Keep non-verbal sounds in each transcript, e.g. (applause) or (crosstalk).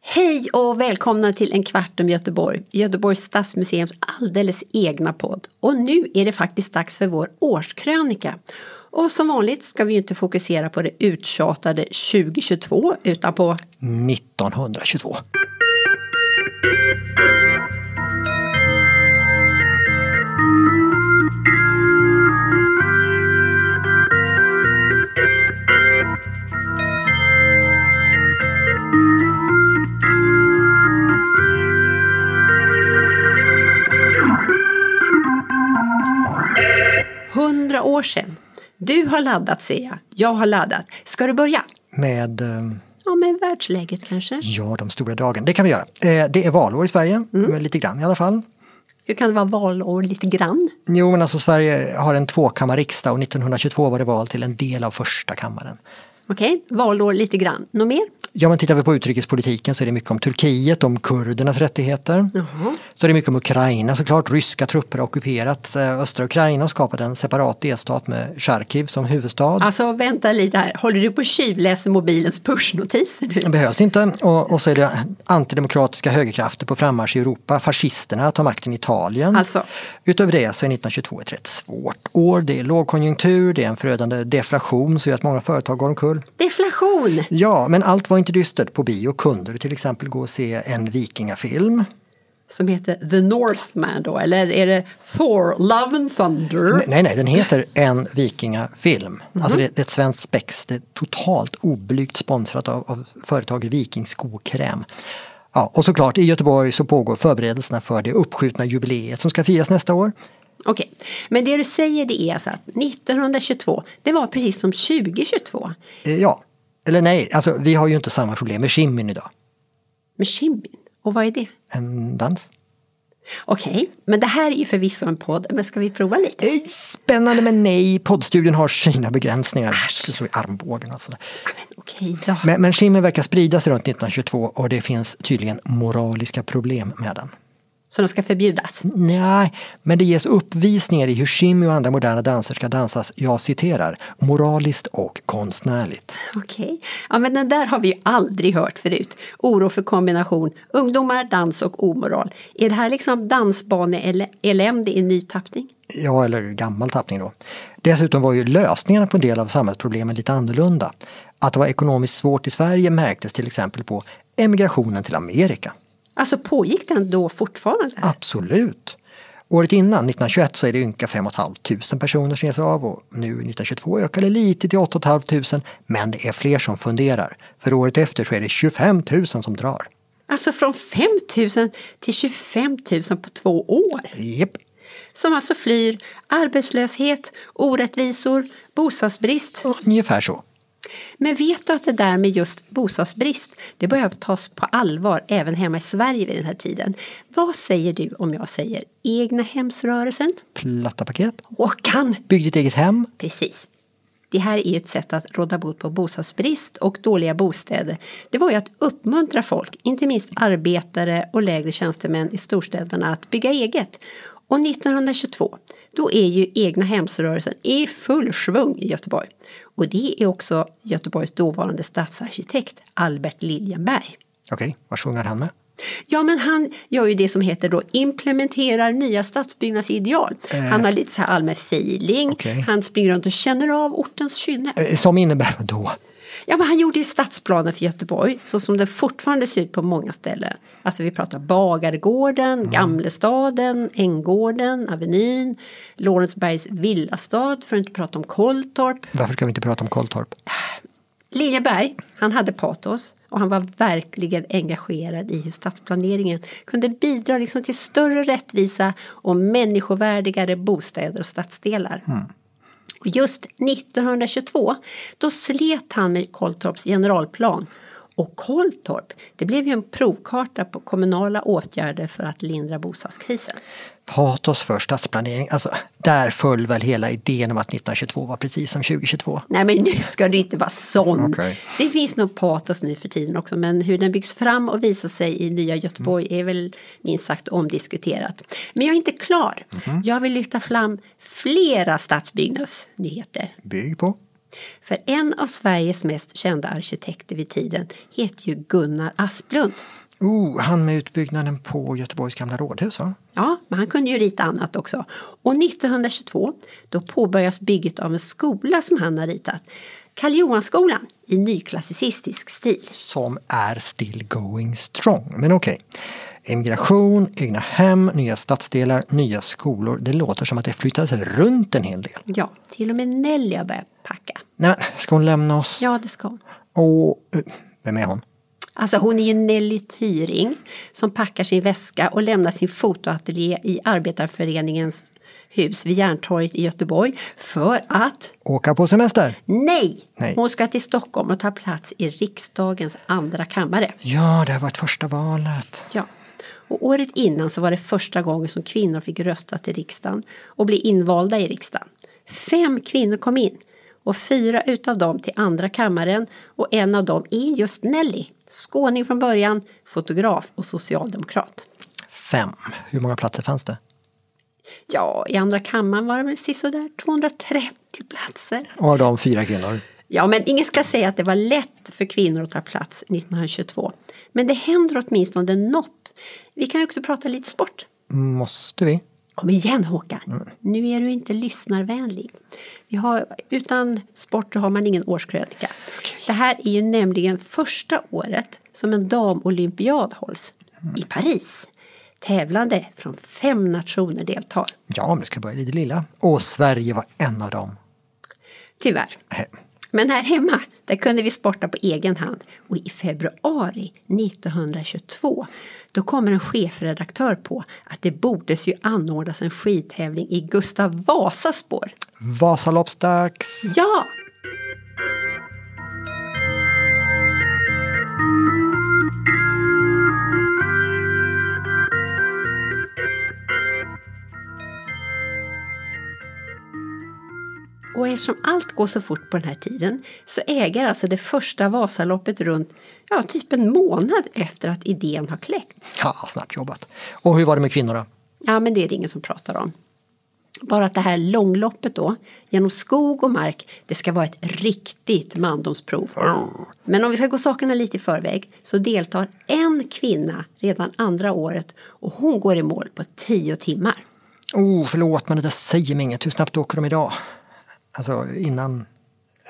Hej och välkomna till En kvart om Göteborg, Göteborgs stadsmuseums alldeles egna podd. Och nu är det faktiskt dags för vår årskrönika. Och som vanligt ska vi ju inte fokusera på det uttjatade 2022 utan på 1922. hundra år sedan. Du har laddat ser jag, jag har laddat. Ska du börja? Med eh, Ja, med världsläget kanske. ja, de stora dragen. Det kan vi göra. Eh, Det är valår i Sverige, men lite grann i alla fall. Hur kan det vara valår lite grann? Jo, men alltså Sverige har en tvåkammarriksdag och 1922 var det val till en del av första kammaren. Okej, valår lite grann. Något mer? Ja, men tittar vi på utrikespolitiken så är det mycket om Turkiet, om kurdernas rättigheter. Så är det mycket om Ukraina såklart. Ryska trupper har ockuperat eh, östra Ukraina och skapat en separat delstat med Charkiv som huvudstad. Alltså vänta lite här, håller du på och tjuvläser mobilens pushnotiser nu? Den behövs inte. Och, och så är det antidemokratiska högerkrafter på frammarsch i Europa. Fascisterna tar makten i Italien. Alltså. Utöver det så är 1922 ett rätt svårt år. Det är lågkonjunktur, det är en förödande deflation som gör att många företag går omkull. Deflation! Ja, men allt var inte dystert. På bio kunde du till exempel gå och se en vikingafilm. Som heter The Northman då, eller är det Thor, Love and Thunder? Nej, nej, den heter En vikingafilm. Alltså det, det är ett svenskt spex. Det är totalt oblygt sponsrat av, av företaget Viking skokräm. Ja, och såklart, i Göteborg så pågår förberedelserna för det uppskjutna jubileet som ska firas nästa år. Okej, men det du säger det är alltså att 1922, det var precis som 2022 Eh, Ja, eller nej, alltså vi har ju inte samma problem med Shimmin idag. med Shimin. Och vad är det? En dans. Okej, men det här är ju förvisso en podd, men ska vi prova lite? Eh, Spännande men nej, poddstudion har sina begränsningar. Jag skulle slå i armbågen och sådär. Ja, men Okej då. Men, men Shimmin verkar sprida sig runt 1922 och det finns tydligen moraliska problem med den. Så de ska förbjudas? Mm. Nej, men det ges uppvisningar i hur shimmy och andra moderna danser ska dansas, jag citerar, moraliskt och konstnärligt. Okej. Ja, men den där har vi ju aldrig hört förut. Oro för kombination ungdomar, dans och omoral. Är det här liksom dansbaneelände i ny tappning? Ja, eller gammal tappning då. Dessutom var ju lösningarna på en del av samhällsproblemen lite annorlunda. Att det var ekonomiskt svårt i Sverige märktes till exempel på emigrationen till Amerika. Alltså pågick den då fortfarande? Absolut! Året innan, 1921, så är det ynka 5 500 personer som ger sig av och nu 1922 ökar det lite till 8 500 men det är fler som funderar. För året efter så är det 25 000 som drar. Alltså från 5 000 till 25 000 på två år. Japp. Som alltså flyr arbetslöshet, orättvisor, bostadsbrist. Ungefär så. Men vet du att det där med just bostadsbrist, det börjar tas på allvar även hemma i Sverige vid den här tiden. Vad säger du om jag säger egna hemsrörelsen? Platta paket. Håkan! Bygg ditt eget hem. Precis. Det här är ju ett sätt att råda bot på bostadsbrist och dåliga bostäder. Det var ju att uppmuntra folk, inte minst arbetare och lägre tjänstemän i storstäderna, att bygga eget. Och 1922, då är ju egna hemsrörelsen i full svung i Göteborg. Och det är också Göteborgs dåvarande stadsarkitekt Albert Liljenberg. Okej, vad sjunger han med? Ja, men han gör ju det som heter då implementerar nya stadsbyggnadsideal. Han har lite så här allmän feeling. Okej. Han springer runt och känner av ortens kynne. Eh, Som innebär vad då? Ja, men han gjorde ju stadsplanen för Göteborg så som den fortfarande ser ut på många ställen. Alltså vi pratar Bagargården, Gamlestaden, Änggården, Avenyn, Lorensbergs villastad, för att inte prata om Kolltorp. Varför ska vi inte prata om Kolltorp? Liljeberg, han hade patos och han var verkligen engagerad i hur stadsplaneringen kunde bidra liksom till större rättvisa och människovärdigare bostäder och stadsdelar. Och just 1922, då slet han med Kolltorps generalplan. Och Kolltorp, det blev ju en provkarta på kommunala åtgärder för att lindra bostadskrisen. Patos för stadsplanering. Alltså, där föll väl hela idén om att 1922 var precis som 2022. Nej men nu ska du inte vara sån. Okej. Det finns nog patos nu för tiden också men hur den byggs fram och visar sig i nya Göteborg är väl minst sagt omdiskuterat. Men jag är inte klar. Jag vill lyfta fram flera stadsbyggnadsnyheter. Bygg på. För en av Sveriges mest kända arkitekter vid tiden heter ju Gunnar Asplund. Oh, han med utbyggnaden på Göteborgs gamla rådhus va? Ja, men han kunde ju rita annat också. Och 1922 då påbörjas bygget av en skola som han har ritat. Karl Johanskolan i nyklassicistisk stil. Som är still going strong, men okej. Emigration, egna hem, nya stadsdelar, nya skolor. Det låter som att det flyttas runt en hel del. Ja, till och med Nelly har börjat packa. Nej, men, ska hon lämna oss? Ja, det ska hon. Och, eh, vem är hon? Alltså hon är ju Nelly Tyring som packar sin väska och lämnar sin fotoateljé i Arbetarföreningens hus vid Järntorget i Göteborg för att, Åka på semester? nej, Nej. hon ska till Stockholm och ta plats i riksdagens andra kammare. Ja, det har varit första valet. Ja. Och året innan så var det första gången som kvinnor fick rösta till riksdagen och bli invalda i riksdagen. Fem kvinnor kom in och fyra utav dem till andra kammaren och en av dem är just Nelly, skåning från början, fotograf och socialdemokrat. Fem. Hur många platser fanns det? Ja, i andra kammaren var det väl sisådär 230 platser. Och av dem fyra kvinnor. Ja, men ingen ska säga att det var lätt för kvinnor att ta plats 1922. Men det händer åtminstone något. Vi kan ju också prata lite sport. Måste vi? Kom igen Håkan! Nu är du inte lyssnarvänlig. Vi har, utan sport så har man ingen årskrönika. Det här är ju nämligen första året som en damolympiad hålls i Paris. Tävlande från fem nationer deltar. Ja, men det ska börja i det lilla. Och Sverige var en av dem. Tyvärr. Eh, Men här hemma, där kunde vi sporta på egen hand. Och i februari 1922, då kommer en chefredaktör på att det bordes ju anordnas en skidtävling i Gustav Vasas spår. Vasaloppsdags! Ja! Och eftersom allt går så fort på den här tiden så äger alltså det första Vasaloppet runt ja, typ en månad efter att idén har kläckts. Ja, snabbt jobbat. Och hur var det med kvinnorna? Ja, men det är det ingen som pratar om. Bara att det här långloppet då, genom skog och mark, det ska vara ett riktigt mandomsprov. Men om vi ska gå sakerna lite i förväg så deltar en kvinna redan andra året och hon går i mål på tio timmar. Oh, förlåt, men det där säger mig inget. Hur snabbt åker de idag? Alltså innan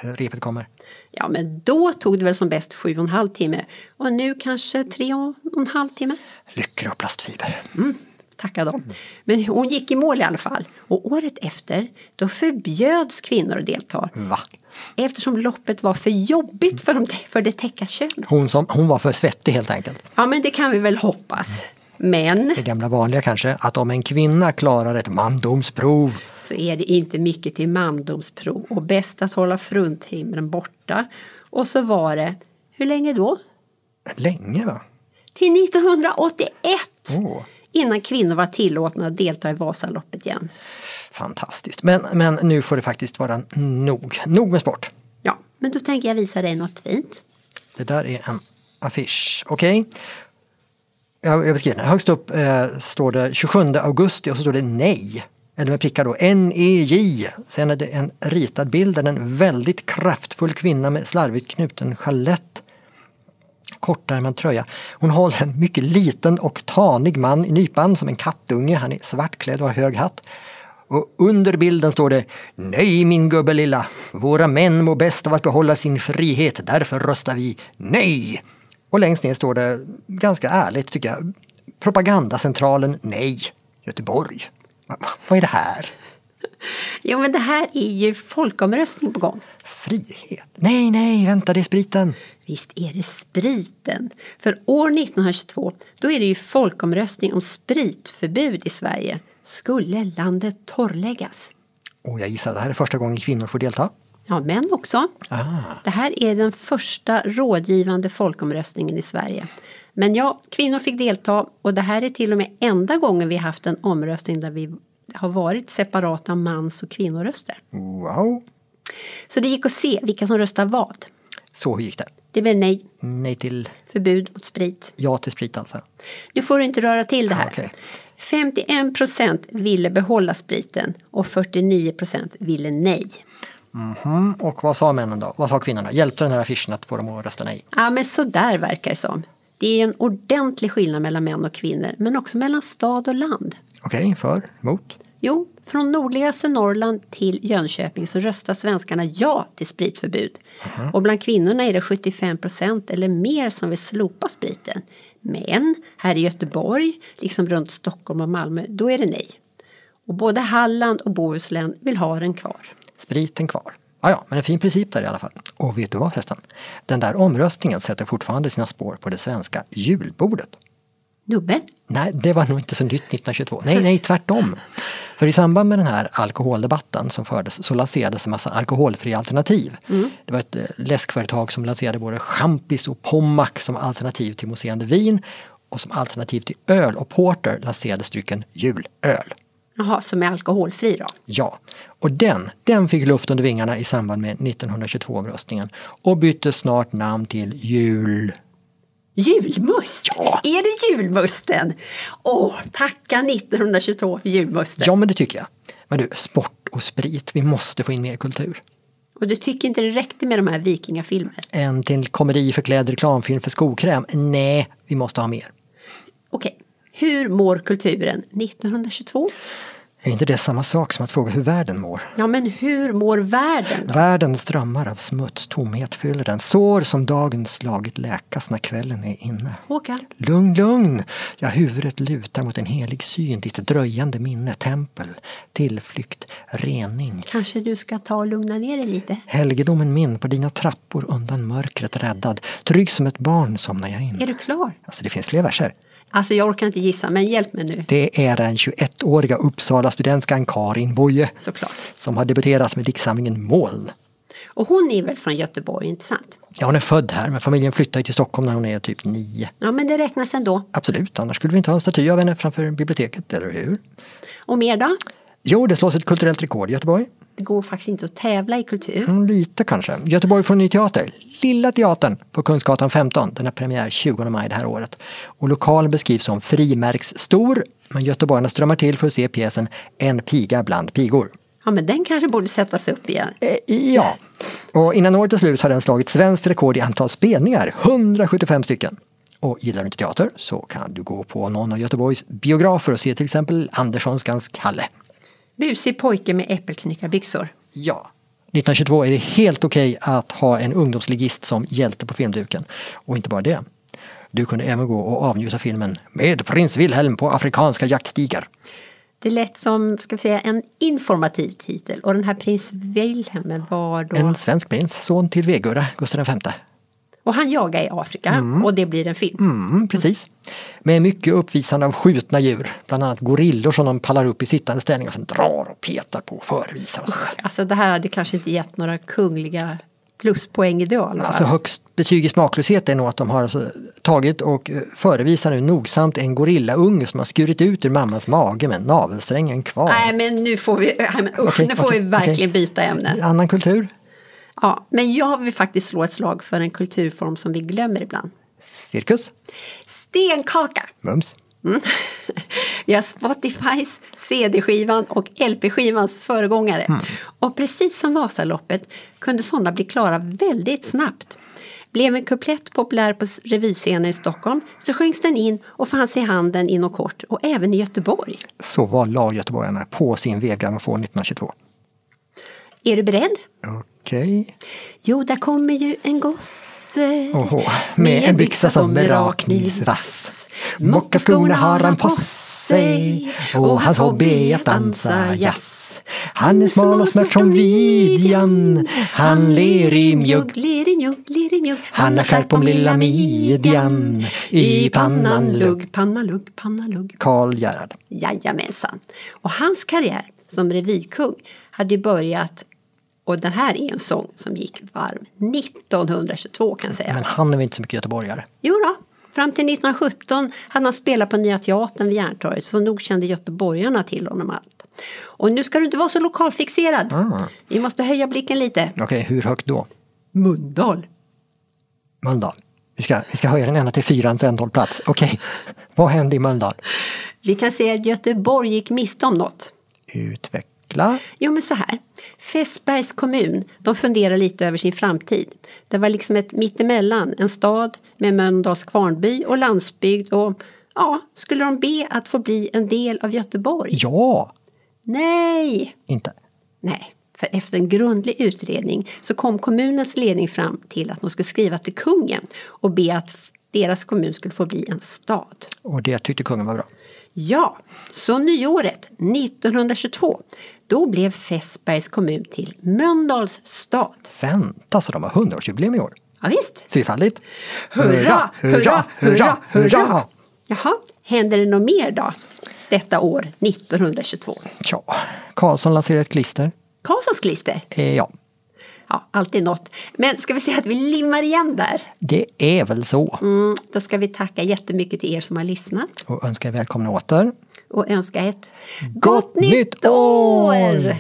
eh, repet kommer. Ja, men då tog det väl som bäst sju och en halv timme och nu kanske tre och en halv timme. Lyckor och plastfiber. Tacka dem. Men hon gick i mål i alla fall. Och året efter, då förbjöds kvinnor att delta. Mm. Va? Eftersom loppet var för jobbigt för, de, för det täcka könet. Hon, som, hon var för svettig helt enkelt. Ja, men det kan vi väl hoppas. Men Det gamla vanliga kanske, att om en kvinna klarar ett mandomsprov så är det inte mycket till mandomsprov och bäst att hålla fruntimren borta. Och så var det, hur länge då? länge va? Till 1981! Åh. Innan kvinnor var tillåtna att delta i Vasaloppet igen. Fantastiskt. Men, men nu får det faktiskt vara nog. Nog med sport. Ja, men då tänker jag visa dig något fint. Det där är en affisch. Okej. Jag, jag beskriver den. Högst upp eh, står det 27 augusti och så står det nej. Eller med prickar då, NEJ. Sen är det en ritad bild där en väldigt kraftfull kvinna med slarvigt knuten chalett kortärmad tröja. Hon håller en mycket liten och tanig man i nypan som en kattunge. Han är svartklädd och har hög hatt. Och under bilden står det Nej min gubbe lilla, våra män mår bäst av att behålla sin frihet, därför röstar vi nej. Och längst ner står det, ganska ärligt tycker jag, Propagandacentralen Nej, Göteborg. Va- va- Vad är det här? Jo, men det här är ju folkomröstning på gång. Frihet? Nej, nej, vänta det är spriten. Visst är det spriten? För år 1922 då är det ju folkomröstning om spritförbud i Sverige. Skulle landet torrläggas? Och jag gissar att det här är första gången kvinnor får delta. Ja, män också. Det här är den första rådgivande folkomröstningen i Sverige. Men ja, kvinnor fick delta och det här är till och med enda gången vi haft en omröstning där vi har varit separata mans och kvinnoröster. Wow. Så det gick att se vilka som röstar vad. Så hur gick det? Det blev nej, Nej till förbud mot sprit. Ja till sprit alltså. Nu får du inte röra till det här. Ah, okej. 51 procent ville behålla spriten och 49 procent ville nej. Mhm. Och vad sa männen då? Vad sa kvinnorna? Hjälpte den här affischen att få dem att rösta nej? Ja, men så där verkar det som. Det är en ordentlig skillnad mellan män och kvinnor, men också mellan stad och land. Okej, för? Emot? Jo, från nordligaste Norrland till Jönköping så röstar svenskarna ja till spritförbud. Och bland kvinnorna är det 75 procent eller mer som vill slopa spriten. Men här i Göteborg, liksom runt Stockholm och Malmö, då är det nej. Och både Halland och Bohuslän vill ha den kvar. Spriten kvar. Ah, Ja, ja, men en fin princip där i alla fall. Och vet du vad förresten? Den där omröstningen sätter fortfarande sina spår på det svenska julbordet. Nubben? Nej, det var nog inte så nytt 1922. Nej, nej, tvärtom. För i samband med den här alkoholdebatten som fördes så lanserades en massa alkoholfria alternativ. Det var ett eh, läskföretag som lanserade både champis och Pommac som alternativ till mousserande vin och som alternativ till öl och porter lanserades drycken julöl. Jaha, som är alkoholfri då? Ja, och den, den fick luft under vingarna i samband med 1922-omröstningen och bytte snart namn till jul... Julmust! Är det julmusten? Åh, tacka 1922 för julmusten. Ja, men det tycker jag. Men du, sport och sprit, vi måste få in mer kultur. Och du tycker inte det räckte med de här vikingafilmer? En till komedi för kläder, reklamfilm för skokräm. Nej, vi måste ha mer. Okej, hur mår kulturen 1922? Är inte det samma sak som att fråga hur världen mår? Ja, men hur mår världen? Då? Världen strömmar av smuts, tomhet fyller den. Sår som dagen slagit läkas när kvällen är inne. Håkan? Lugn, lugn! Ja, huvudet lutar mot en helig syn, ditt dröjande minne, tempel, tillflykt, rening. Kanske du ska ta och lugna ner dig lite? Helgedomen min på dina trappor undan mörkret räddad. Trygg som ett barn somnar jag Är in. du klar? Alltså det finns fler verser. Alltså, jag orkar inte gissa, men hjälp mig nu. Det är den 21-åriga Uppsala-studentskan Karin Boye Såklart. som har debuterat med diktsamlingen Moln. Och hon är väl från Göteborg, inte sant? Ja, hon är född här men familjen flyttade till Stockholm när hon är typ nio. Ja, men det räknas ändå. Absolut, annars skulle vi inte ha en staty av henne framför biblioteket, eller hur? Och mer då? Jo, det slås ett kulturellt rekord i Göteborg. Det går faktiskt inte att tävla i kultur. Mm, Lite kanske. Göteborg får en ny teater. Lilla Teatern på Kungsgatan 15. Den har premiär 20 maj det här året. Och lokalen beskrivs som frimärksstor. Men göteborgarna strömmar till för att se pjäsen En piga bland pigor. Ja, men den kanske borde sättas upp igen. Eh, ja. Och innan året är slut har den slagit svenskt rekord i antal spelningar. 175 stycken. Och gillar du inte teater så kan du gå på någon av Göteborgs biografer och se till exempel Anderssonskans Kalle. Busig pojke med äppelknyckarbyxor. Ja. 1922 är det helt okej att ha en ungdomsligist som hjälte på filmduken. Och inte bara det. Du kunde även gå och avnjuta filmen Med prins Wilhelm på afrikanska jaktstigar. Det lät som ska vi säga, en informativ titel och den här prins Wilhelm var då... En svensk prins, son till Vegurra, Gustav V. Och han jagar i Afrika och det blir en film. Mm, precis. Med mycket uppvisande av skjutna djur. Bland annat gorillor som de pallar upp i sittande ställning och sen drar och petar på och förevisar och sådär. Alltså det här hade kanske inte gett några kungliga pluspoäng i det i alla fall. Alltså högst betyg i smaklöshet är nog att de har alltså tagit och eh, förevisar nu nogsamt en gorillaunge som har skurit ut ur mammas mage med navelsträngen kvar. Nej men nu får vi, nej, men, usch, Okej, nu får okej, vi verkligen okej. byta ämne. Annan kultur? Ja, men jag vill faktiskt slå ett slag för en kulturform som vi glömmer ibland. Cirkus? Stenkaka! Mums? (laughs) Mm. Vi har Spotifys, CD-skivan och LP-skivans föregångare. Mm. Och precis som Vasaloppet kunde sådana bli klara väldigt snabbt. Blev en kuplett populär på s- revyscenen i Stockholm så sjöngs den in och fanns i handen inom kort och även i Göteborg. Så vad la göteborgarna på sin vevgrammofon 1922? Är du beredd? Okej. Jo, där kommer ju en gosse Oho. Med en byxa som är rakknivsvass. Mockaskorna har han på sig och hans hobby är att dansa jazz. Han är smal och smärt som vidjan. Han ler i mjugg ler i mjugg, ler i mjugg. Han har skärp om lilla midjan. I pannan lugg. pannan lugg, pannan lugg. Karl Gerhard. Jajamensan. Och hans karriär som revykung hade ju börjat och den här är en sång som gick varm 1922 kan jag säga. Men han är väl inte så mycket göteborgare? Jo då, fram till 1917 hade han spelat på Nya Teatern vid Järntorget så nog kände göteborgarna till honom allt. Och nu ska du inte vara så lokalfixerad. Vi måste höja blicken lite. Okej, hur högt då? Mundal. Mölndal. Vi ska, vi ska höja den ända till fyrans ändhållplats. Okej, vad hände i Mölndal? Vi kan se att Göteborg gick miste om något. Utveckla. Utveckla. Jo, men så här. Fässbergs kommun, de funderar lite över sin framtid. Det var liksom ett mittemellan, en stad med Mölndals kvarnby och landsbygd och ja, skulle de be att få bli en del av Göteborg? Ja, Nej! inte. Nej, för efter en grundlig utredning så kom kommunens ledning fram till att de skulle skriva till kungen och be att f- deras kommun skulle få bli en stad. Och det tyckte kungen var bra. Ja, så nyåret 1922 då blev Fässbergs kommun till Mölndals stad. Vänta, så de har hundraårsjubileum i år. Ja, visst. Fyrfaldigt. Jaha, händer det något mer då? Detta år 1922. Ja, Karlsson lanserar ett klister. Karlssons klister? Eh, ja, Ja, alltid något. Men ska vi säga att vi limmar igen där? det är väl så. Mm, då ska vi tacka jättemycket till er som har lyssnat Och önskar er välkomna åter. och önska ett gott, nytt år! år!